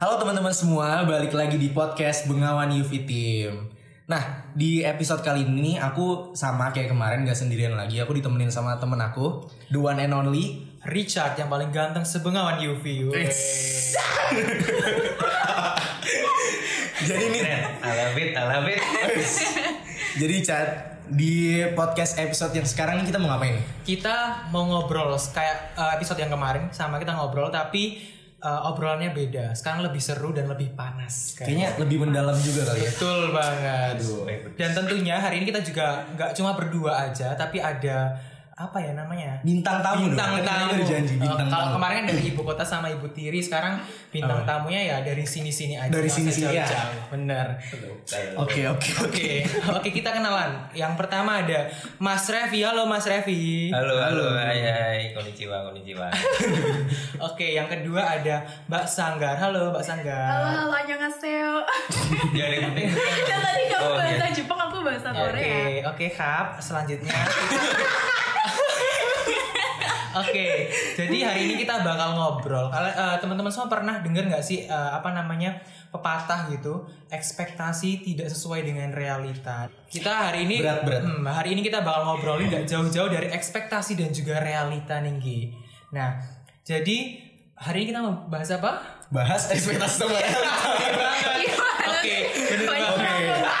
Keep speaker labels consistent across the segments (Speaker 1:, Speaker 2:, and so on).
Speaker 1: Halo teman-teman semua, balik lagi di podcast Bengawan UV Team. Nah, di episode kali ini aku sama kayak kemarin gak sendirian lagi. Aku ditemenin sama temen aku, the one and only.
Speaker 2: Richard yang paling ganteng sebengawan UV. Wih.
Speaker 1: Jadi nih,
Speaker 3: I love it, I love it.
Speaker 1: jadi chat di podcast episode yang sekarang ini kita mau ngapain?
Speaker 2: Kita mau ngobrol kayak eh, episode yang kemarin sama kita ngobrol tapi eh, obrolannya beda. Sekarang lebih seru dan lebih panas. kayak.
Speaker 1: Kayaknya lebih mendalam juga kali ya.
Speaker 2: Betul banget.
Speaker 1: eh,
Speaker 2: Dan tentunya hari ini kita juga nggak cuma berdua aja tapi ada apa ya namanya?
Speaker 1: Bintang tamu. dong.
Speaker 2: Bintang
Speaker 1: Tadi kan
Speaker 2: tamu.
Speaker 1: udah janji
Speaker 2: Eh,
Speaker 1: bintang
Speaker 2: Kalau
Speaker 1: tamu.
Speaker 2: kemarin kan dari ibu kota sama ibu tiri, sekarang bintang tamunya ya dari sini-sini aja.
Speaker 1: Dari
Speaker 2: nggak usah
Speaker 1: sini-sini ya.
Speaker 2: jauh-jauh. Bener.
Speaker 1: Oke, oke, oke.
Speaker 2: Oke, oke kita kenalan. Yang pertama ada Mas Revi. Halo Mas Revi.
Speaker 3: Halo, halo, hai, hai, konnichiwa, konnichiwa.
Speaker 2: Oke, yang kedua ada Mbak Sanggar. Halo
Speaker 4: Halo,
Speaker 2: Mbak Sanggar.
Speaker 4: halo, annyeonghaseyo.
Speaker 3: Dia ada yang penting.
Speaker 4: Kan tadi kamu
Speaker 3: Oh,
Speaker 4: bahasa Jepang, aku bahasa Korea.
Speaker 2: ya. iya. Oke, oke Kap. Selanjutnya. Oke, jadi hari ini kita bakal ngobrol. Kalian eh, teman-teman semua pernah dengar nggak sih eh, apa namanya pepatah gitu, ekspektasi tidak sesuai dengan realita. Kita hari ini
Speaker 1: Berat, berat.
Speaker 2: Hmm, hari ini kita bakal ngobrolin nggak jauh-jauh dari ekspektasi dan juga realita nih, Gi. Nah, jadi hari ini kita mau bahas apa?
Speaker 1: Bahas ekspektasi sama
Speaker 4: Gimana
Speaker 2: Oke,
Speaker 4: sih?
Speaker 2: bener
Speaker 4: Banyak
Speaker 2: banget.
Speaker 4: banget.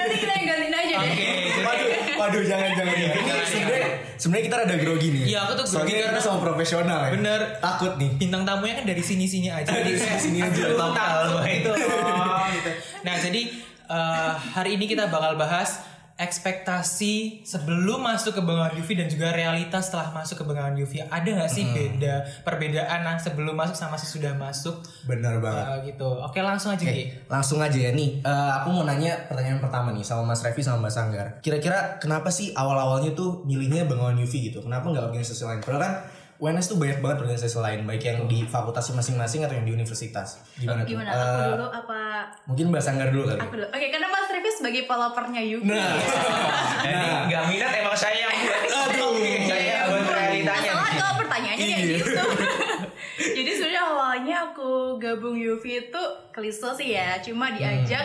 Speaker 4: Nanti kita gantiin aja deh.
Speaker 2: Oke, jadi
Speaker 1: Waduh, waduh jangan jangan ya. Ini
Speaker 2: jangan,
Speaker 1: sebenarnya sebenarnya kita rada grogi nih.
Speaker 2: Iya, aku tuh grogi
Speaker 1: Soalnya
Speaker 2: karena-
Speaker 1: kita sama profesional. ya.
Speaker 2: Bener.
Speaker 1: Takut nih.
Speaker 2: bintang tamunya kan dari sini-sini aja. Jadi kayak,
Speaker 1: sini aja,
Speaker 2: aduh,
Speaker 1: tampal.
Speaker 2: takut gitu. loh, gitu. Nah, jadi eh, hari ini kita bakal bahas ekspektasi sebelum masuk ke bengawan UV dan juga realitas setelah masuk ke bengawan UV. Ada nggak sih beda perbedaan nah, sebelum masuk sama sesudah masuk
Speaker 1: Bener banget.
Speaker 2: Eh, gitu. Oke, langsung aja, Ki.
Speaker 1: Oke, langsung aja ya nih. Eh, aku mau nanya pertanyaan pertama nih sama Mas Revi sama Mas Sanggar. Kira-kira kenapa sih awal-awalnya tuh milihnya Bengawan UV gitu? Kenapa nggak organisasi lain? Padahal kan UNS tuh banyak banget organisasi lain, baik yang di fakultas masing-masing atau yang di universitas. Gimana,
Speaker 4: Gimana,
Speaker 1: tuh?
Speaker 4: aku
Speaker 1: Eh,
Speaker 4: dulu apa
Speaker 1: mungkin Mbak Sanggar dulu kali.
Speaker 4: aku dulu? Oke, karena Mas Revi sebagai followernya Yuki.
Speaker 1: Nah.
Speaker 3: Jadi
Speaker 2: Iya.
Speaker 3: nggak minat emang saya yang buat.
Speaker 1: Aduh.
Speaker 3: saya yang buat realitanya.
Speaker 4: Masalah kalau pertanyaannya kayak
Speaker 1: Iya.
Speaker 4: gitu. Jadi sebenarnya awalnya aku gabung Yuvi itu klise sih ya, cuma diajak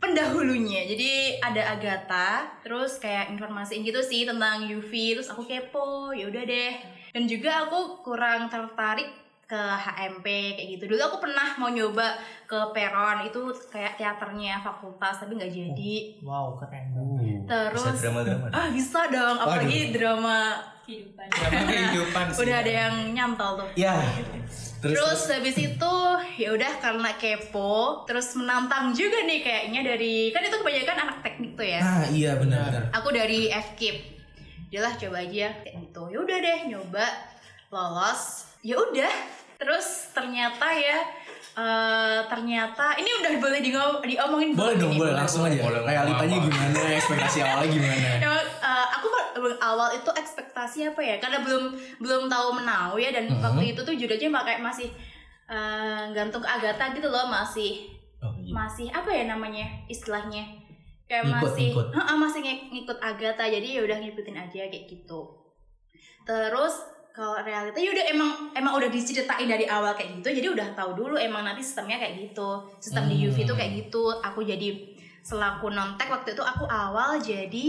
Speaker 4: pendahulunya. Jadi ada Agatha, terus kayak informasiin gitu sih tentang Yuvi, terus aku kepo, ya udah deh. Dan juga aku kurang tertarik ke HMP kayak gitu dulu aku pernah mau nyoba ke Peron itu kayak teaternya fakultas tapi nggak jadi
Speaker 2: Wow, keren banget.
Speaker 3: Bisa
Speaker 4: terus
Speaker 3: drama-drama.
Speaker 4: ah bisa dong apalagi drama kehidupan
Speaker 2: Drama kehidupan sih.
Speaker 4: udah ada yang nyantol tuh
Speaker 1: Ya.
Speaker 4: terus, habis itu ya udah karena kepo terus menantang juga nih kayaknya dari kan itu kebanyakan anak teknik tuh ya
Speaker 1: Nah, iya benar-benar.
Speaker 4: aku dari FKIP udahlah coba aja kayak gitu ya udah deh nyoba lolos ya udah terus ternyata ya eh, ternyata ini udah boleh di diomongin
Speaker 1: Boleh
Speaker 4: belum
Speaker 1: dong,
Speaker 4: ini?
Speaker 1: boleh langsung aja.
Speaker 3: Boleh, boleh.
Speaker 1: Realitanya
Speaker 3: Apa?
Speaker 1: gimana? Ekspektasi awalnya gimana?
Speaker 4: Ya, eh, aku ber- awal itu ekspektasi apa ya? Karena belum belum tahu menau ya dan waktu itu tuh judulnya pakai masih eh, gantung ke Agatha gitu loh masih
Speaker 3: Oh, iya.
Speaker 4: masih apa ya namanya istilahnya kayak
Speaker 1: Ngikut,
Speaker 4: masih
Speaker 1: ngikut.
Speaker 4: Heeh, masih ngik- ngikut Agatha jadi ya udah ngikutin aja kayak gitu. Terus kalau realita ya udah emang emang udah diceritain dari awal kayak gitu jadi udah tahu dulu emang nanti sistemnya kayak gitu sistem di UV itu kayak gitu aku jadi selaku nontek waktu itu aku awal jadi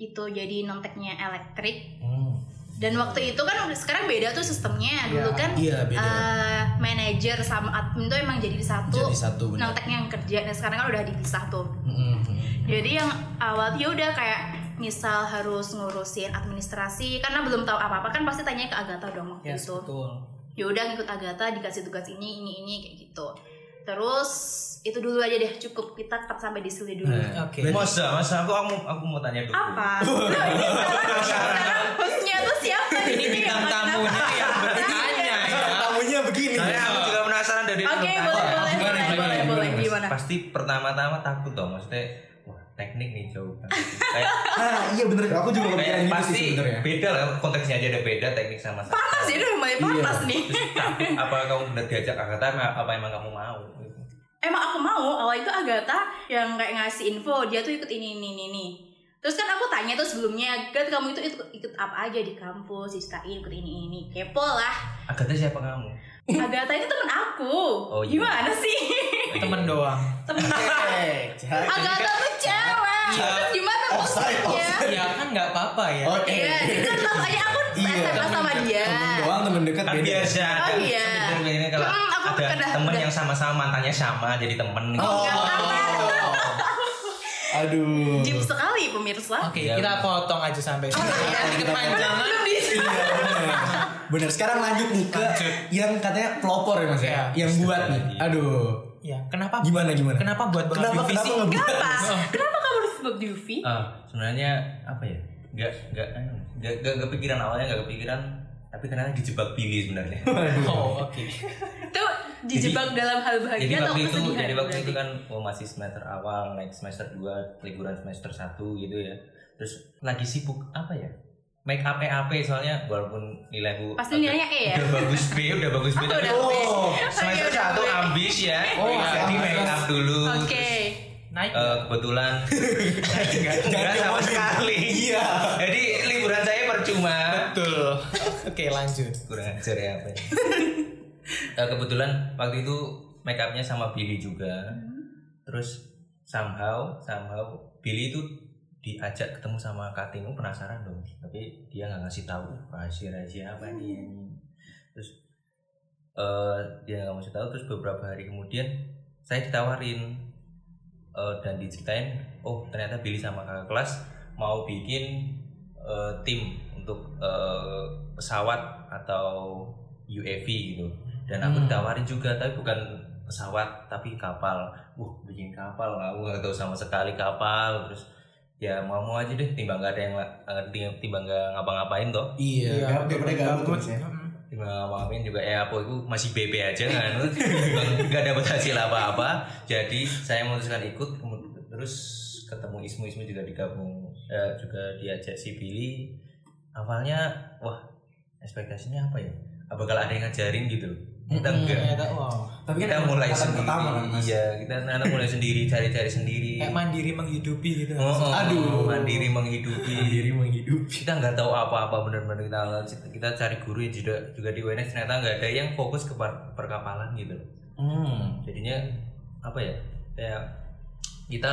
Speaker 4: itu jadi nonteknya elektrik
Speaker 1: Hmm.
Speaker 4: dan waktu itu kan udah- sekarang beda tuh sistemnya dulu
Speaker 2: Iya.
Speaker 4: kan
Speaker 1: Iya, beda.
Speaker 4: eh, manajer sama admin tuh emang jadi satu
Speaker 1: Jadi satu, benar.
Speaker 4: nonteknya yang kerja dan sekarang kan udah dipisah tuh
Speaker 1: Mm-mm.
Speaker 4: jadi yang awal ya udah kayak misal harus ngurusin administrasi karena belum tahu apa apa kan pasti tanya ke Agatha dong waktu
Speaker 2: Yes,
Speaker 4: itu
Speaker 2: betul.
Speaker 4: ya udah ngikut Agatha dikasih tugas ini ini ini kayak gitu terus itu dulu aja deh cukup kita tetap sampai di sini dulu
Speaker 3: Nah,
Speaker 2: Oke.
Speaker 3: Masa, masa aku, aku, aku mau tanya dulu.
Speaker 4: apa Loh, ini sekarang sekarang hostnya tuh siapa di
Speaker 2: Ini
Speaker 4: sini
Speaker 2: bintang
Speaker 4: Kenapa?
Speaker 2: tamunya yang bertanya ya.
Speaker 1: Tamunya begini. Nah,
Speaker 3: Soalnya aku juga penasaran dari
Speaker 4: oke
Speaker 3: teman-teman.
Speaker 4: boleh
Speaker 3: Wah,
Speaker 4: boleh boleh
Speaker 1: Gimana, gimana,
Speaker 4: boleh
Speaker 1: gimana,
Speaker 4: boleh
Speaker 1: Mas?
Speaker 4: gimana
Speaker 3: Pasti pertama-tama takut dong, maksudnya wah teknik nih jauh banget. Kayak
Speaker 1: Ah, iya bener. Aku juga kepikiran
Speaker 3: kayak
Speaker 1: gitu sih
Speaker 3: Eh, pasti
Speaker 1: sebenarnya.
Speaker 3: beda lah konteksnya aja ada beda teknik sama sastra.
Speaker 4: panas ya udah mulai panas nih
Speaker 3: Terus takut, apa kamu benar diajak angkatan apa emang kamu mau gitu.
Speaker 4: emang aku mau awal itu Agatha yang kayak ngasih info dia tuh ikut ini ini ini ini. terus kan aku tanya tuh sebelumnya Gat kamu itu ikut, ikut apa aja di kampus diceritain ikut ini ini kepo lah
Speaker 3: Agatha siapa kamu?
Speaker 4: Agatha itu temen aku.
Speaker 3: Oh, iya.
Speaker 4: Gimana sih?
Speaker 2: Temen doang.
Speaker 4: Iya. temen
Speaker 1: Cek, cek.
Speaker 4: Agatha tuh cewek.
Speaker 2: Iya.
Speaker 4: Terus gimana
Speaker 1: Offside,
Speaker 4: maksudnya?
Speaker 1: offside.
Speaker 2: Ya kan nggak apa-apa ya.
Speaker 1: Oke.
Speaker 4: Iya, itu tetap aja aku
Speaker 1: Iya,
Speaker 4: SMA sama dia.
Speaker 1: Temen doang temen dekat
Speaker 3: kan
Speaker 1: beda.
Speaker 3: biasa
Speaker 4: Oh,
Speaker 3: kan
Speaker 4: iya.
Speaker 3: sebenarnya biasanya kalau
Speaker 4: Hmm, aku
Speaker 3: ada
Speaker 4: kedah-
Speaker 3: temen
Speaker 4: udah.
Speaker 3: yang sama-sama mantannya sama jadi temen gitu.
Speaker 1: Oh. Aduh.
Speaker 4: Jip sekali pemirsa.
Speaker 2: Oke,
Speaker 1: Iya.
Speaker 3: Ya.
Speaker 2: kita potong aja sampai sini. Nanti kepanjangan.
Speaker 4: Belum bisa.
Speaker 1: Iya, bener. Bener. Sekarang lanjut nih ke
Speaker 2: Lanjut.
Speaker 1: yang katanya pelopor ya Mas ya.
Speaker 2: Iya.
Speaker 1: Yang buat nih. Aduh.
Speaker 2: Ya, kenapa?
Speaker 1: Gimana gimana?
Speaker 2: Kenapa buat banget
Speaker 1: Kenapa
Speaker 2: UV
Speaker 1: kenapa
Speaker 2: sih?
Speaker 1: ngebuat?
Speaker 4: Kenapa? Kenapa kamu disebut Yufi?
Speaker 3: Eh, sebenarnya apa ya nggak nggak nggak nggak kepikiran awalnya nggak kepikiran tapi ternyata dijebak pilih sebenarnya
Speaker 1: Waduh.
Speaker 2: Oh, oke.
Speaker 4: Tuh dijebak dalam hal bahagia
Speaker 3: jadi
Speaker 4: atau
Speaker 3: waktu itu
Speaker 4: kesedihan?
Speaker 3: jadi waktu itu
Speaker 4: berarti?
Speaker 3: kan oh, masih semester awal naik semester 2 liburan semester 1 gitu ya terus lagi sibuk apa ya make up EAP soalnya walaupun nilaiku
Speaker 4: Pasti
Speaker 3: agak-
Speaker 4: nilainya E ya?
Speaker 3: udah bagus B udah bagus B tapi
Speaker 4: udah B.
Speaker 1: Oh,
Speaker 3: semester
Speaker 4: Oke, udah
Speaker 3: satu
Speaker 4: B.
Speaker 3: ambis ya
Speaker 1: Oh,
Speaker 3: jadi
Speaker 1: ambis.
Speaker 3: make up dulu
Speaker 4: Oke.
Speaker 2: Naik.
Speaker 3: Terus, eh, kebetulan enggak enggak sama sekali
Speaker 1: Iya.
Speaker 3: jadi liburan saya percuma
Speaker 2: Betul. Oke, lanjut.
Speaker 3: kurang ajar ya apa ya. Eh, kebetulan waktu itu make upnya sama Billy juga terus somehow somehow Billy itu diajak ketemu sama Katimu penasaran dong tapi dia nggak ngasih tahu rahasia rahasia apa nih ini terus eh, dia nggak ngasih tahu terus beberapa hari kemudian saya ditawarin eh, dan diceritain oh ternyata Billy sama kakak kelas mau bikin eh, tim untuk eh, pesawat atau UAV gitu dan aku
Speaker 2: Hmm.
Speaker 3: ditawarin juga tapi bukan pesawat tapi kapal wah bikin kapal aku nggak tahu sama sekali kapal terus ya mau mau aja deh timbang nggak ada yang eh, tim- timbang nggak ngapa-ngapain toh
Speaker 1: Iya. Gabut
Speaker 2: betul,
Speaker 1: daripada gabut Mas, ya.
Speaker 2: Mm-mm.
Speaker 3: timbang nggak ngapa-ngapain juga eh apa itu masih BB aja kan Timbang nggak dapat hasil apa-apa jadi saya memutuskan ikut kemud- terus ketemu Ismu Ismu juga digabung eh, juga diajak si Billy awalnya wah ekspektasinya apa ya Ah, bakal ada yang ngajarin gitu loh kita
Speaker 1: Mm-mm.
Speaker 3: enggak
Speaker 2: Ternyata wow.
Speaker 1: Tapi kan
Speaker 3: kita mulai
Speaker 1: angkatan
Speaker 3: sendiri
Speaker 1: pertama kan Mas.
Speaker 3: iya kita anak mulai sendiri cari-cari sendiri
Speaker 2: Kayak
Speaker 1: Iya.
Speaker 2: mandiri menghidupi gitu.
Speaker 3: Oh, oh,
Speaker 1: Aduh.
Speaker 3: mandiri menghidupi
Speaker 1: Diri menghidupi.
Speaker 3: kita nggak tahu apa-apa benar-benar kita kita cari guru yang juga juga di UNS ternyata nggak ada yang fokus ke per- perkapalan gitu loh
Speaker 1: Hmm.
Speaker 3: jadinya apa ya kayak kita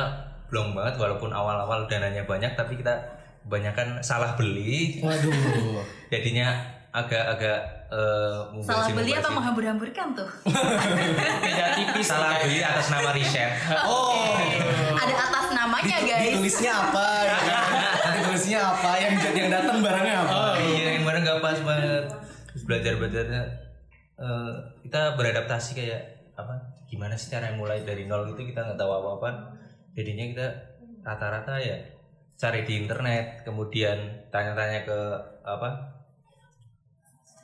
Speaker 3: belum banget walaupun awal-awal dananya banyak tapi kita kebanyakan salah beli
Speaker 1: Waduh.
Speaker 3: jadinya agak-agak eh,
Speaker 4: Salah beli
Speaker 3: mubazir-
Speaker 4: atau
Speaker 3: mubazir. Iya,
Speaker 4: menghambur-hamburkan tuh?
Speaker 2: Beda tipis.
Speaker 3: salah beli atas nama riset
Speaker 1: Oh. Gitu,
Speaker 4: Ada atas
Speaker 1: Iya,
Speaker 4: namanya guys.
Speaker 1: Ditulisnya apa? ya kan? Nanti tulisnya apa? Yang yang datang barangnya apa?
Speaker 3: Oh, iya yang bareng gak pas banget terus belajar belajarnya eh, kita beradaptasi kayak apa gimana sih cara mulai dari nol gitu kita nggak tahu apa apa jadinya kita rata-rata ya cari di internet kemudian tanya-tanya ke apa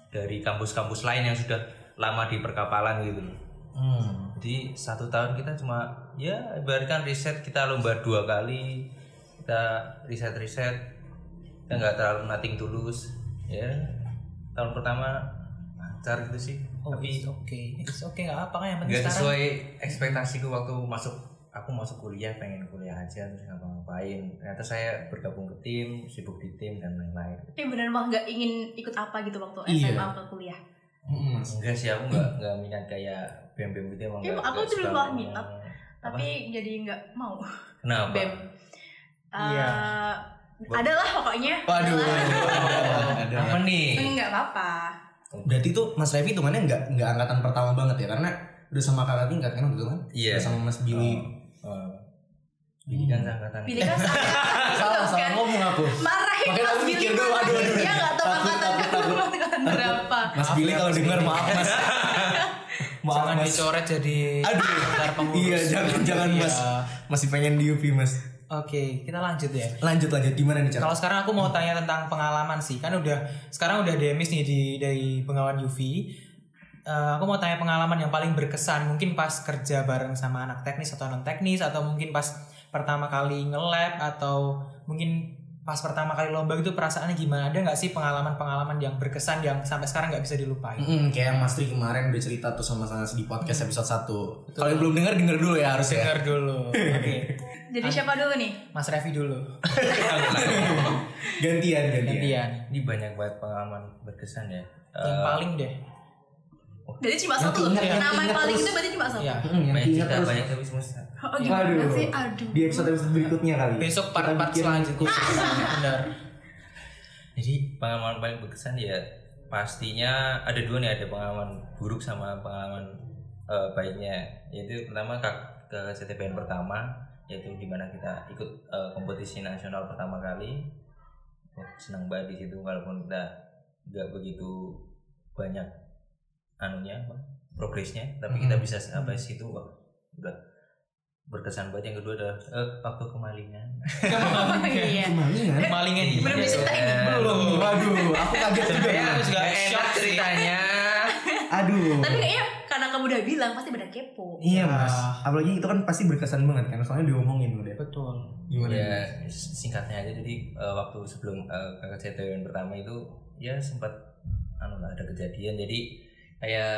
Speaker 3: dari kampus-kampus lain yang sudah lama di perkapalan gitu loh
Speaker 1: Hmm.
Speaker 3: jadi satu tahun kita cuma ya ibaratkan riset kita lomba dua kali kita riset riset kita nggak terlalu nothing tulus ya tahun pertama lancar gitu sih
Speaker 2: Oh,
Speaker 3: tapi
Speaker 2: it's okay. It's okay nggak apa-apa kan yang penting
Speaker 3: nggak
Speaker 2: sekarang.
Speaker 3: sesuai ekspektasiku waktu masuk aku masuk kuliah pengen kuliah aja terus ngapa ngapain ternyata saya bergabung ke tim sibuk di tim dan lain-lain
Speaker 4: Tapi bener mah nggak ingin ikut apa gitu waktu
Speaker 1: Iya.
Speaker 4: SMA ke kuliah.
Speaker 1: Hmm, Mas.
Speaker 3: enggak sih aku nggak nggak minat kayak bem bem gitu emang
Speaker 4: Iya,
Speaker 3: nggak-
Speaker 4: aku
Speaker 3: nggak
Speaker 4: dulu
Speaker 3: suka
Speaker 4: malah
Speaker 3: banget.
Speaker 4: minat,
Speaker 3: Apa?
Speaker 4: Tapi jadi nggak mau
Speaker 1: Ah.
Speaker 3: kenapa
Speaker 4: BEM.
Speaker 2: Iya.
Speaker 4: Eh, Adalah pokoknya.
Speaker 1: Waduh.
Speaker 4: Adalah.
Speaker 1: waduh,
Speaker 3: apa
Speaker 1: waduh.
Speaker 3: nih
Speaker 4: Nggak apa-apa.
Speaker 1: Berarti tuh Mas Revi itu mana nggak nggak angkatan pertama banget ya? Karena udah sama kakak tingkat kan betul kan?
Speaker 3: Iya.
Speaker 1: Udah sama Mas Billy.
Speaker 3: Oh, oh. Billy kan seangkatan.
Speaker 4: Pilih kan
Speaker 1: Salah salah ngomong aku.
Speaker 4: Marahin
Speaker 1: Makanya
Speaker 4: Mas
Speaker 1: aku
Speaker 4: Billy
Speaker 1: mikir dulu,
Speaker 4: marahin.
Speaker 1: aduh, aduh,
Speaker 4: Dia
Speaker 1: aduh.
Speaker 4: nggak tahu
Speaker 1: Takut,
Speaker 4: angkatan
Speaker 1: takut,
Speaker 4: kamu angkatan berapa
Speaker 1: Mas Billy kalau dengar maaf Mas. Maaf
Speaker 2: ya, Jangan
Speaker 1: Mas.
Speaker 2: dicoret jadi
Speaker 1: Aduh.
Speaker 2: antar pengurus.
Speaker 1: Iya, jangan jangan
Speaker 2: Iya.
Speaker 1: Mas. Masih pengen di UV Mas.
Speaker 2: Oke, kita lanjut ya.
Speaker 1: Lanjut lanjut gimana nih cara?
Speaker 2: Kalau sekarang aku mau tanya tentang pengalaman sih, kan udah sekarang udah demis nih di dari pengawan UV. Eh, aku mau tanya pengalaman yang paling berkesan, mungkin pas kerja bareng sama anak teknis atau non teknis, atau mungkin pas pertama kali nge-lab atau mungkin pas pertama kali lomba itu perasaannya gimana? Ada nggak sih pengalaman-pengalaman yang berkesan yang sampai sekarang nggak bisa dilupain?
Speaker 1: Mm, kayak yang Mas Tri kemarin udah cerita tuh sama Sanas di podcast episode 1 Kalau yang belum dengar denger dulu ya harusnya.
Speaker 2: Dengar dulu, oke.
Speaker 4: Jadi siapa dulu nih?
Speaker 2: Mas Revi dulu,
Speaker 1: Gantian gantian.
Speaker 3: Eh,
Speaker 2: gantian.
Speaker 1: Iya.
Speaker 3: Ini banyak banget pengalaman berkesan ya.
Speaker 2: Yang
Speaker 3: Eh,
Speaker 2: paling deh.
Speaker 3: wah,
Speaker 4: Jadi cuma
Speaker 1: Yang
Speaker 4: satu.
Speaker 1: keinget, yang
Speaker 4: Nama yang
Speaker 1: keinget
Speaker 4: paling
Speaker 1: terus.
Speaker 4: itu berarti cuma satu.
Speaker 2: Iya.
Speaker 1: Mm, yang
Speaker 3: Banyak
Speaker 1: diingat
Speaker 3: cerita
Speaker 1: terus.
Speaker 3: banyak tapi semesta.
Speaker 4: Oh, gimana
Speaker 1: Aduh.
Speaker 4: sih? Aduh.
Speaker 1: Di episode episode berikutnya kali.
Speaker 2: Besok
Speaker 1: Eh, Kita
Speaker 2: part-part
Speaker 1: bikin-
Speaker 2: selanjutnya. Benar.
Speaker 3: Jadi pengalaman paling berkesan ya pastinya ada dua nih ada pengalaman buruk sama pengalaman eh, baiknya. Yaitu pertama kak ke STPN pertama yaitu dimana kita ikut eh, kompetisi nasional pertama kali. Oh, Senang banget di situ walaupun kita nggak begitu banyak anunya apa, progresnya tapi kita
Speaker 1: Mhm.
Speaker 3: bisa sampai situ wah udah berkesan banget yang kedua adalah eh, waktu kemalingan
Speaker 1: ya?
Speaker 3: Iya.
Speaker 4: Iya.
Speaker 1: Kemalingan.
Speaker 2: Malingnya di.
Speaker 4: Belum diceritain nih.
Speaker 2: Iya. Belum.
Speaker 1: Waduh, aku kaget juga.
Speaker 2: Sebenarnya
Speaker 1: ya.
Speaker 2: aku juga
Speaker 3: enak
Speaker 2: shock sih.
Speaker 3: ceritanya
Speaker 1: Aduh.
Speaker 4: Tapi kayaknya karena kamu udah bilang pasti pada kepo.
Speaker 1: Iya mas,
Speaker 2: Ah.
Speaker 1: apalagi itu kan pasti berkesan banget kan, soalnya diomongin udah.
Speaker 2: Betul.
Speaker 1: Gimana?
Speaker 3: ya singkatnya aja jadi eh, waktu sebelum eh, kakak saya yang pertama itu ya sempat anu lah, ada kejadian jadi kayak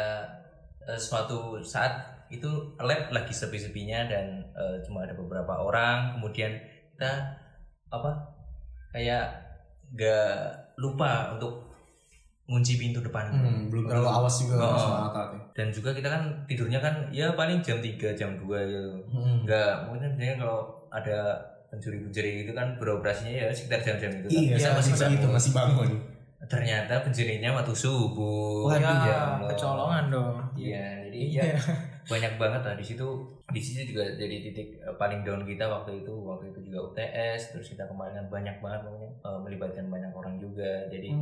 Speaker 3: eh, suatu saat itu lab lagi sepi-sepinya dan eh, cuma ada beberapa orang kemudian kita apa kayak nggak lupa untuk ngunci pintu depan
Speaker 1: Hmm, belum terlalu awas juga
Speaker 3: Oh.
Speaker 1: mas soal Natal ya.
Speaker 3: dan juga kita kan tidurnya kan ya paling jam 3 jam 2 gitu
Speaker 1: Hmm.
Speaker 3: Enggak, mungkin biasanya kalau ada pencuri-pencuri itu kan beroperasinya ya sekitar jam-jam itu. kan.
Speaker 1: Iya,
Speaker 3: Bisa
Speaker 1: sama
Speaker 3: masih
Speaker 1: sih
Speaker 3: bangun.
Speaker 1: gitu masih bangun.
Speaker 3: Ternyata pencurinya waktu subuh.
Speaker 1: Waduh,
Speaker 3: Ya
Speaker 2: Ya,
Speaker 3: Allah.
Speaker 2: kecolongan dong.
Speaker 3: Iya, jadi ya
Speaker 2: Iya.
Speaker 3: banyak banget lah di situ. Di situ juga jadi titik eh, paling down kita waktu itu. Waktu itu juga UTS, terus kita kemarin kan banyak banget pokoknya eh, melibatkan banyak orang juga. Jadi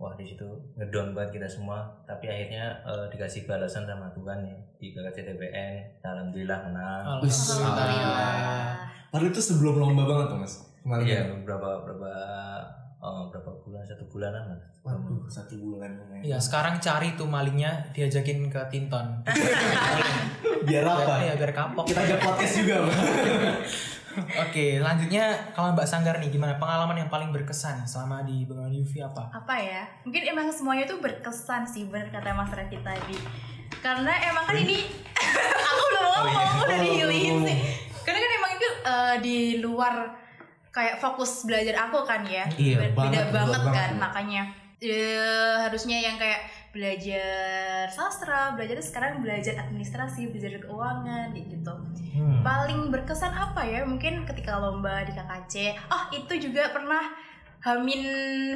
Speaker 3: wah di situ ngedown banget kita semua. Tapi akhirnya eh, dikasih balasan sama Tuhan ya di KKCTBN. Alhamdulillah menang.
Speaker 1: Ah.
Speaker 4: Alhamdulillah.
Speaker 1: Padahal itu sebelum lomba banget tuh mas. Kemarin
Speaker 3: Iya,
Speaker 1: kan?
Speaker 3: berapa berapa eh, berapa bulan satu bulanan lah.
Speaker 1: Waduh, satu bulan lumayan.
Speaker 2: Ya, sekarang cari tuh malingnya diajakin ke Tinton.
Speaker 1: Biar apa?
Speaker 2: Ya, biar kapok.
Speaker 1: Kita ada podcast juga mas.
Speaker 2: Oke, lanjutnya kalau Mbak Sanggar nih gimana pengalaman yang paling berkesan selama di Bengawan UV apa?
Speaker 4: apa ya mungkin emang semuanya tuh berkesan sih bener kata Mas Raffi tadi karena emang kan ini aku belum ngomong aku udah dihiliin sih karena kan emang itu eh, di luar kayak fokus belajar aku kan ya Beda-
Speaker 1: Iya, banget,
Speaker 4: beda
Speaker 1: di luar
Speaker 4: banget kan
Speaker 1: banget.
Speaker 4: makanya eh, harusnya yang kayak belajar sastra belajar sekarang belajar administrasi belajar keuangan kayak gitu paling berkesan apa ya mungkin ketika lomba di KKC oh itu juga pernah Hamin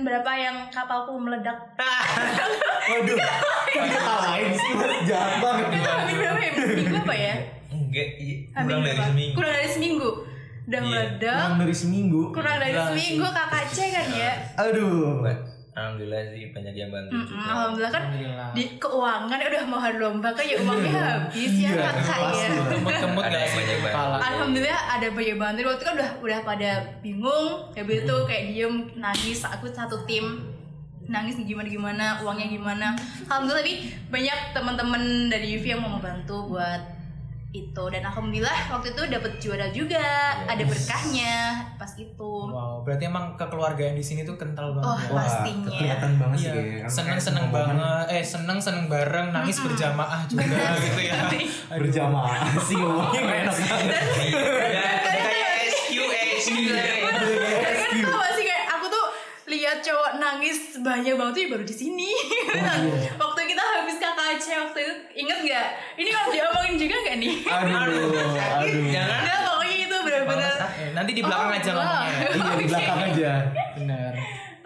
Speaker 4: berapa yang kapalku meledak
Speaker 1: Waduh, kan kita lain sih mas. Jahat banget.
Speaker 4: itu Hamin berapa ya seminggu apa ya
Speaker 3: Enggak, iya,
Speaker 4: Hamin
Speaker 3: kurang dari
Speaker 4: berapa?
Speaker 3: seminggu.
Speaker 4: kurang dari seminggu udah
Speaker 3: Iya.
Speaker 4: meledak
Speaker 1: Kurang dari seminggu.
Speaker 4: kurang dari
Speaker 1: Iya,
Speaker 2: Kurang
Speaker 4: seminggu KKC kan ya
Speaker 1: Aduh.
Speaker 3: Alhamdulillah sih banyak yang bantu
Speaker 4: Mm-mm,
Speaker 3: juga.
Speaker 4: alhamdulillah kan
Speaker 2: Alhamdulillah.
Speaker 4: di keuangan udah mau hari lomba kan ya uangnya habis ya
Speaker 1: Iya,
Speaker 4: kakak ya
Speaker 1: pasti lah.
Speaker 2: Kemut-kemut
Speaker 3: Ada
Speaker 2: gak
Speaker 3: yang
Speaker 2: sih
Speaker 3: banyak banget.
Speaker 2: kepala?
Speaker 4: Alhamdulillah ada banyak banget waktu itu kan udah udah pada bingung habis itu kayak diem nangis aku satu tim nangis gimana gimana uangnya gimana alhamdulillah tapi banyak teman-teman dari UV yang mau membantu buat itu dan alhamdulillah waktu itu dapat juara juga ada berkahnya pas itu
Speaker 2: Wow, berarti emang kekeluargaan di sini tuh kental banget.
Speaker 4: oh
Speaker 2: ya?
Speaker 1: Wah,
Speaker 4: pastinya.
Speaker 1: kelihatan banget sih
Speaker 2: Iya,
Speaker 1: kayaknya. Karena
Speaker 2: seneng
Speaker 1: kayak
Speaker 2: seneng
Speaker 1: semua momen
Speaker 2: banget, eh seneng seneng bareng, nangis berjamaah juga gitu ya. Aduh.
Speaker 1: Berjamaah sih ngomongnya gak enak.
Speaker 3: Ya, kayak SQ, SQ.
Speaker 4: kan tau gak sih kayak aku tuh lihat cowok nangis banyak banget tuh ya baru di sini waktu kita habis KKC waktu itu inget nggak ini kalau diomongin juga nggak nih
Speaker 1: Aduh, aduh.
Speaker 2: Ya
Speaker 3: Jangan.
Speaker 4: Enggak pokoknya itu benar-benar
Speaker 2: Eh, kan? nanti di belakang
Speaker 4: Oh,
Speaker 2: aja
Speaker 4: wow.
Speaker 2: ngomongnya.
Speaker 1: Iya di
Speaker 4: Oke.
Speaker 1: belakang aja.
Speaker 2: Bener.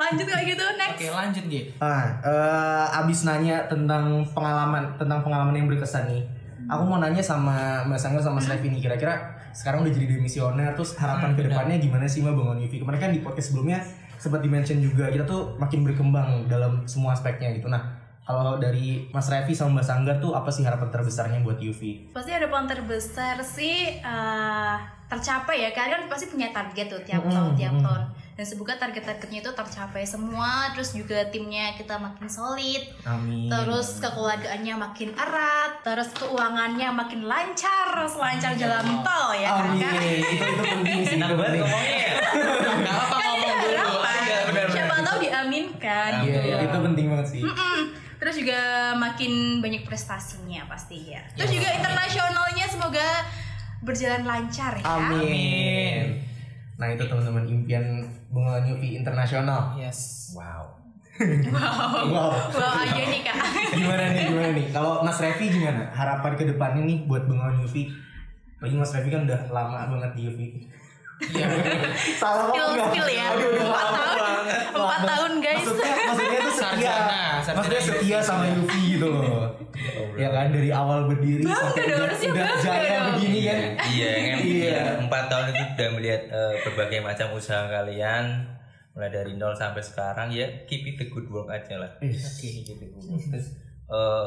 Speaker 4: lanjut kayak gitu next
Speaker 2: Oke, lanjut Gi.
Speaker 1: Ah, eh, abis nanya tentang pengalaman tentang pengalaman yang berkesan nih. Aku mau nanya sama Mas Angga sama Mas Revi nih kira-kira sekarang udah jadi demisioner terus
Speaker 2: Hmm,
Speaker 1: harapan kedepannya gimana sih Mbak Bangun Yufi? Kemarin kan di podcast sebelumnya sempat dimention juga kita tuh makin berkembang dalam semua aspeknya gitu. Nah, kalau dari Mas Revi sama Mbak Sanggar tuh apa sih harapan terbesarnya buat Yufi?
Speaker 4: pasti harapan terbesar sih eh, tercapai ya kalian kan pasti punya target tuh tiap
Speaker 2: Mm-hmm,
Speaker 4: tahun tiap tahun dan semoga target-targetnya itu tercapai semua terus juga timnya kita makin solid
Speaker 1: Amin.
Speaker 4: terus kekeluargaannya makin erat terus keuangannya makin lancar selancar jalan tol ya kan
Speaker 1: Iya. Amin.
Speaker 4: Kak?
Speaker 1: itu itu penting sih.
Speaker 3: Enak
Speaker 1: itu
Speaker 3: banget
Speaker 1: penting.
Speaker 3: ngomongnya. ya.
Speaker 2: Gak apa ngomong dulu. Iya,
Speaker 4: harapan Kan siapa tahu diaminkan
Speaker 1: Iya, iya, itu penting banget sih.
Speaker 4: Mm-mm. Terus juga makin banyak prestasinya pasti ya. Terus
Speaker 1: Iya.
Speaker 4: juga internasionalnya semoga berjalan lancar ya.
Speaker 1: Amin. Nah itu teman-teman impian bunga Yufi internasional.
Speaker 2: Yes.
Speaker 3: Wow.
Speaker 4: Wow.
Speaker 1: Wow.
Speaker 4: Wow aja nih kak.
Speaker 1: gimana nih gimana nih kalau Mas Revi gimana harapan ke depannya nih buat Bengawan UV bagi Mas Revi kan udah lama banget di UV
Speaker 2: Iya.
Speaker 1: salah apa
Speaker 4: Skill
Speaker 1: enggak?
Speaker 4: skill ya.
Speaker 1: Aduh, aduh,
Speaker 4: Empat
Speaker 1: salah
Speaker 4: tahun.
Speaker 1: banget.
Speaker 4: Empat
Speaker 1: Lama.
Speaker 4: tahun guys.
Speaker 1: maksudnya maksudnya tuh setia
Speaker 2: Sarjana, sarjana
Speaker 1: maksudnya
Speaker 2: UV.
Speaker 1: setia sama UV gitu loh ya kan dari awal berdiri
Speaker 4: Bangga
Speaker 1: sampai
Speaker 4: dong,
Speaker 1: udah,
Speaker 4: harusnya
Speaker 1: udah
Speaker 4: bangga
Speaker 1: jaya
Speaker 4: dong.
Speaker 1: begini
Speaker 3: Iya,
Speaker 1: kan
Speaker 3: iya, kan?
Speaker 1: Iya.
Speaker 3: Iya, empat tahun itu udah melihat eh, berbagai macam usaha kalian mulai dari nol sampai sekarang ya keep it the good work aja lah. Keep it the good work. Terus eh,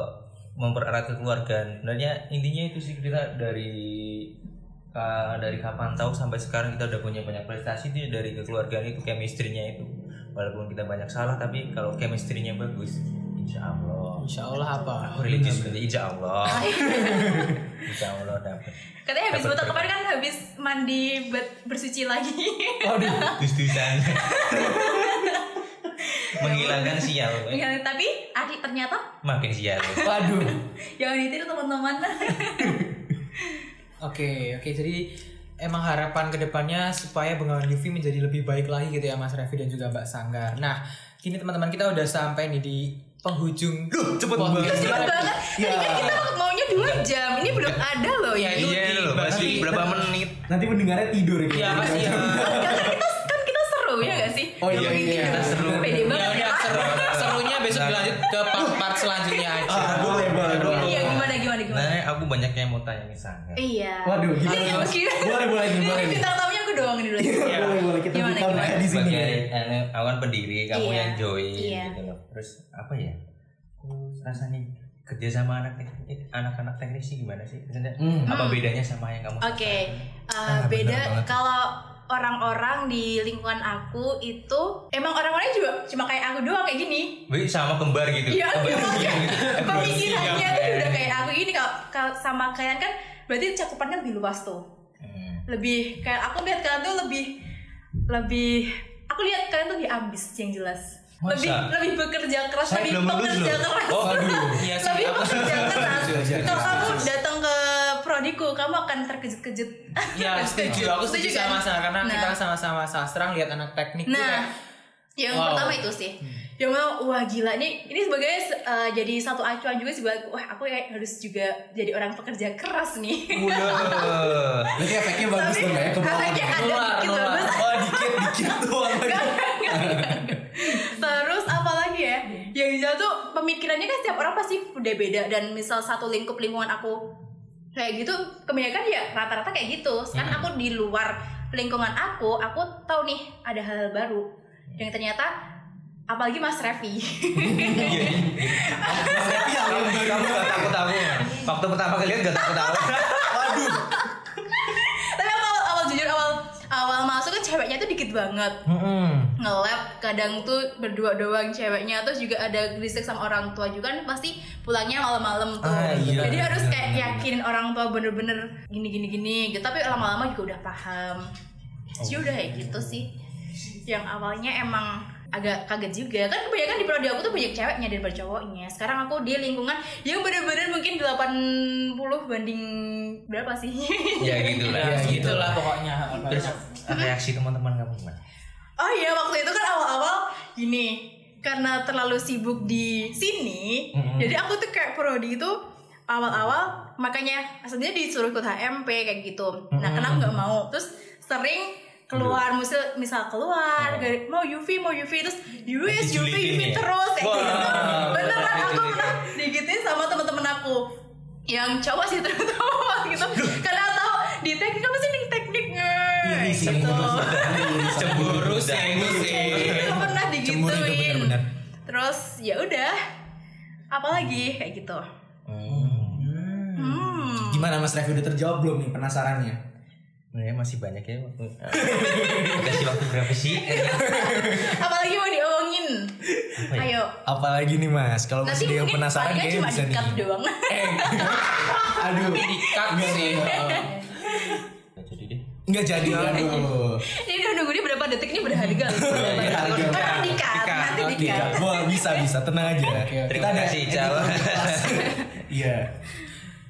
Speaker 3: mempererat kekeluargaan. Sebenarnya intinya itu sih kita dari ka- dari kapan tahu sampai sekarang kita udah punya banyak prestasi itu ya, dari kekeluargaan itu chemistry-nya itu. Walaupun kita banyak salah tapi kalau chemistry-nya bagus, insya Allah.
Speaker 2: Insya Allah apa?
Speaker 3: Aku religius berarti insya Allah. insya Allah dapat.
Speaker 4: Katanya habis
Speaker 3: Dapat
Speaker 4: botak
Speaker 3: berkah.
Speaker 4: kemarin kan habis mandi buat bersuci lagi.
Speaker 3: Waduh, dus-dusan. Menghilangkan sial, eh.
Speaker 4: Ya, Tapi adik ternyata
Speaker 3: makin sial.
Speaker 2: Waduh.
Speaker 4: jangan ditiru teman-teman.
Speaker 2: Oke, oke. Jadi emang harapan kedepannya supaya Bengawan UV menjadi lebih baik lagi gitu ya Mas Revi dan juga Mbak Sanggar. Nah, kini teman-teman kita udah sampai nih di penghujung. Duh, cepet
Speaker 1: banget.
Speaker 4: Cepet banget. Tadi kan kita
Speaker 1: Iya.
Speaker 4: maunya dua jam. Ini belum ada loh ya.
Speaker 2: Iya,
Speaker 3: Iya loh,
Speaker 2: berarti-
Speaker 3: pasti berapa menit?
Speaker 1: nanti mendengarnya tidur gitu
Speaker 2: Iya, pasti. Ya.
Speaker 4: Karena kita kan kita seru ya gak sih?
Speaker 1: Oh, iya,
Speaker 4: Ngomongin
Speaker 1: iya,
Speaker 4: gitu.
Speaker 1: seru. Iya,
Speaker 4: Pede
Speaker 2: Ya
Speaker 4: banget.
Speaker 2: udah seru, serunya besok dilanjut ke part-part selanjutnya aja.
Speaker 1: Ah, boleh, boleh, boleh.
Speaker 4: Iya gimana gimana gimana.
Speaker 3: Nah, aku banyak yang mau tanya nih Sanggar.
Speaker 4: Iya.
Speaker 1: Nah. waduh gimana
Speaker 4: Ini
Speaker 1: Mas? boleh boleh nih, boleh nih.
Speaker 4: Bintang tamunya aku doang nih dulu.
Speaker 1: Iya, boleh boleh kita
Speaker 4: Gimana,
Speaker 1: buka mereka
Speaker 4: gimana?
Speaker 1: di sini ya.
Speaker 3: Sebagai eh, awan pendiri, kamu
Speaker 4: Iya,
Speaker 3: yang join
Speaker 4: iya.
Speaker 3: gitu loh. Terus apa ya? Aku Rasanya kerja sama anak teknik, anak-anak teknisi gimana sih? Maksudnya,
Speaker 1: Hmm.
Speaker 3: Apa bedanya sama yang kamu?
Speaker 4: Oke, uh,
Speaker 1: Ah, bener
Speaker 4: beda
Speaker 1: banget.
Speaker 4: kalau orang-orang di lingkungan aku itu emang orang-orangnya juga cuma kayak aku doang kayak gini.
Speaker 3: Wih, sama kembar gitu.
Speaker 4: Iya,
Speaker 3: Kembar
Speaker 4: iya.
Speaker 3: siang gitu.
Speaker 4: Pemikirannya
Speaker 3: Siang,
Speaker 1: Iya.
Speaker 4: tuh
Speaker 3: eh.
Speaker 4: udah kayak aku gini kalau kalau sama kalian kan berarti cakupannya lebih luas tuh.
Speaker 3: Hmm.
Speaker 4: Lebih kayak aku lihat kalian tuh lebih lebih aku lihat kalian tuh lebih ambis yang jelas.
Speaker 3: Masa?
Speaker 4: Lebih lebih bekerja keras,
Speaker 3: Saya
Speaker 4: lebih
Speaker 3: belum lulus
Speaker 4: bekerja
Speaker 3: loh.
Speaker 4: keras.
Speaker 3: Oh,
Speaker 2: Waduh, iya sih.
Speaker 4: lebih
Speaker 2: Aku
Speaker 4: bekerja keras.
Speaker 1: Iya, iya,
Speaker 4: Kalau
Speaker 1: iya,
Speaker 4: kamu datang ke prodiku, kamu akan terkejut-kejut.
Speaker 2: Ya setuju, aku setuju
Speaker 4: kan?
Speaker 2: sama Sarah karena
Speaker 4: Nah.
Speaker 2: kita sama-sama sastra lihat anak teknik tuh
Speaker 4: Nah,
Speaker 2: kayak,
Speaker 4: yang
Speaker 2: Wow.
Speaker 4: pertama itu sih. Yang pertama, wah gila ini ini sebagai eh, jadi satu acuan juga sih buat wah aku kayak harus juga jadi orang pekerja keras nih.
Speaker 3: Waduh.
Speaker 1: berarti efeknya bagus dong ya kemarin
Speaker 4: Efeknya ada gitu.
Speaker 2: Nular,
Speaker 4: dikit
Speaker 2: nular.
Speaker 4: bagus.
Speaker 1: oh dikit dikit doang lagi
Speaker 4: Terus apalagi ya? Yang jelas tuh pemikirannya kan setiap orang pasti udah beda dan misal satu lingkup lingkungan aku kayak gitu kebanyakan ya rata-rata kayak gitu. Sekarang aku di luar lingkungan aku, aku tahu nih ada hal-hal baru yang ternyata apalagi Mas Revi.
Speaker 3: Kamu kamu gak takut aku ya? Waktu pertama kali lihat gak takut aku Waduh
Speaker 4: Tapi aku awal, awal jujur awal awal masuk kan ceweknya tuh dikit banget. Nge-lab kadang tuh berdua doang ceweknya terus juga ada grisik sama orang tua juga kan pasti pulangnya malam-malam tuh.
Speaker 1: Ah, iya.
Speaker 4: Jadi harus kayak yakinin orang tua bener-bener gini gini gini gitu. Tapi lama-lama juga udah paham.
Speaker 1: Oh.
Speaker 4: Jadi udah kayak gitu sih. Yang awalnya emang agak kaget juga kan kebanyakan di prodi aku tuh banyak ceweknya daripada cowoknya sekarang aku di lingkungan yang bener-bener mungkin 80 banding berapa sih
Speaker 3: Ya gitu lah
Speaker 2: Ya,
Speaker 3: gitu
Speaker 2: gitulah
Speaker 3: lah
Speaker 2: pokoknya.
Speaker 3: Terus reaksi teman-teman kamu gimana?
Speaker 4: Oh iya waktu itu kan awal-awal gini karena terlalu sibuk di sini, jadi aku tuh kayak prodi itu awal-awal makanya aslinya disuruh ikut HMP kayak gitu. Nah kenapa nggak mau? Terus sering keluar misal misal keluar dari- mau UV mau UV terus US UV UV
Speaker 3: Dijulitin ya?
Speaker 4: terus kayak
Speaker 3: Wah.
Speaker 4: gitu. Beneran aku
Speaker 3: Dijulitin.
Speaker 4: pernah digituin sama teman-teman aku yang cowok sih terutama gitu karena tahu di teknik apa sih di teknik
Speaker 1: Iri sih.
Speaker 4: gitu
Speaker 2: Cemburu sih, itu sih.
Speaker 4: itu pernah
Speaker 1: Iya. Cemburu itu
Speaker 4: digituin
Speaker 1: bener-bener.
Speaker 4: terus ya udah apalagi kayak gitu hmm.
Speaker 1: gimana Mas Revi udah terjawab belum nih penasarannya
Speaker 3: Sebenarnya masih banyak ya waktu Kasih waktu berapa sih?
Speaker 4: apalagi mau diomongin ayo
Speaker 1: apalagi nih Mas ya? kalau
Speaker 4: nanti
Speaker 1: masih ada yang
Speaker 4: mungkin
Speaker 1: penasaran
Speaker 4: palingan
Speaker 1: kayaknya
Speaker 4: cuma
Speaker 1: bisa
Speaker 4: di
Speaker 1: nih
Speaker 4: cut doang
Speaker 1: aduh
Speaker 2: Dikat sih.
Speaker 3: Gak jadi deh
Speaker 1: nggak jadi aduh
Speaker 4: ini udah nunggu ini berapa detik ini berharga loh
Speaker 1: iya, iya.
Speaker 4: Orang di cut
Speaker 3: Di cut,
Speaker 4: nanti di
Speaker 1: Iya,
Speaker 4: cut
Speaker 1: boleh bisa bisa tenang aja.
Speaker 3: Terima kasih, Cal.
Speaker 1: Iya.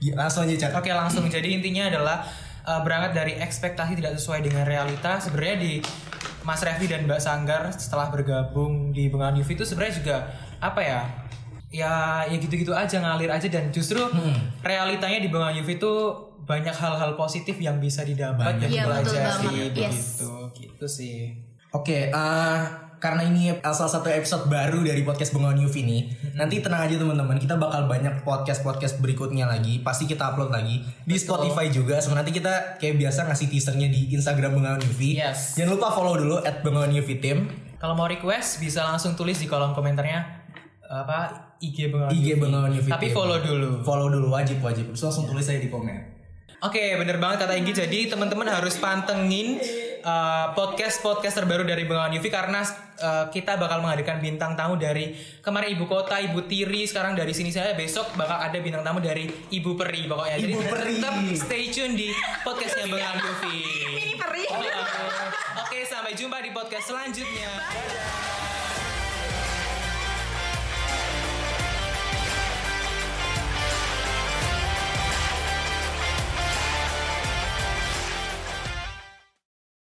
Speaker 1: Ya, langsung aja Cal.
Speaker 2: Oke langsung eh, jadi intinya adalah uh, berangkat dari ekspektasi tidak sesuai dengan realita sebenarnya di Mas Revi dan Mbak Sanggar setelah bergabung di Bengawan UV itu sebenarnya juga apa ya? Ya, ya gitu-gitu aja ngalir aja dan justru
Speaker 1: Hmm.
Speaker 2: realitanya di Bengawan UV itu banyak hal-hal positif yang bisa didapat dan
Speaker 4: Iya, betul
Speaker 2: dipelajari
Speaker 4: banget.
Speaker 2: begitu.
Speaker 4: Yes.
Speaker 2: Gitu sih.
Speaker 1: Oke, eh, karena ini eh, salah satu episode baru dari podcast Bengawan Youth ini, nanti tenang aja teman-teman, kita bakal banyak podcast-podcast berikutnya lagi, pasti kita upload lagi di Spotify juga. So, nanti kita kayak biasa ngasih teasernya di Instagram Bengawan Youth.
Speaker 2: Yes.
Speaker 1: Jangan lupa follow dulu at Bengawan Youth Team,
Speaker 2: Kalau mau request bisa langsung tulis di kolom komentarnya apa IG Bengawan
Speaker 1: IG
Speaker 2: UV.
Speaker 1: Bengawan Youth.
Speaker 2: Tapi
Speaker 1: Team.
Speaker 2: follow dulu.
Speaker 1: Follow dulu wajib wajib. Terus langsung tulis aja di komen.
Speaker 2: Oke, bener banget kata Inggi. Jadi teman-teman harus pantengin podcast podcast terbaru dari Bengawan UV karena uh, kita bakal menghadirkan bintang tamu dari kemarin ibu kota, ibu tiri, sekarang dari sini saya besok bakal ada bintang tamu dari ibu peri pokoknya. Jadi
Speaker 1: Ibu Peri.
Speaker 2: tetap stay tune di podcastnya Bengawan UV.
Speaker 4: Ini perih.
Speaker 2: Oke, sampai jumpa di podcast selanjutnya. Dadah.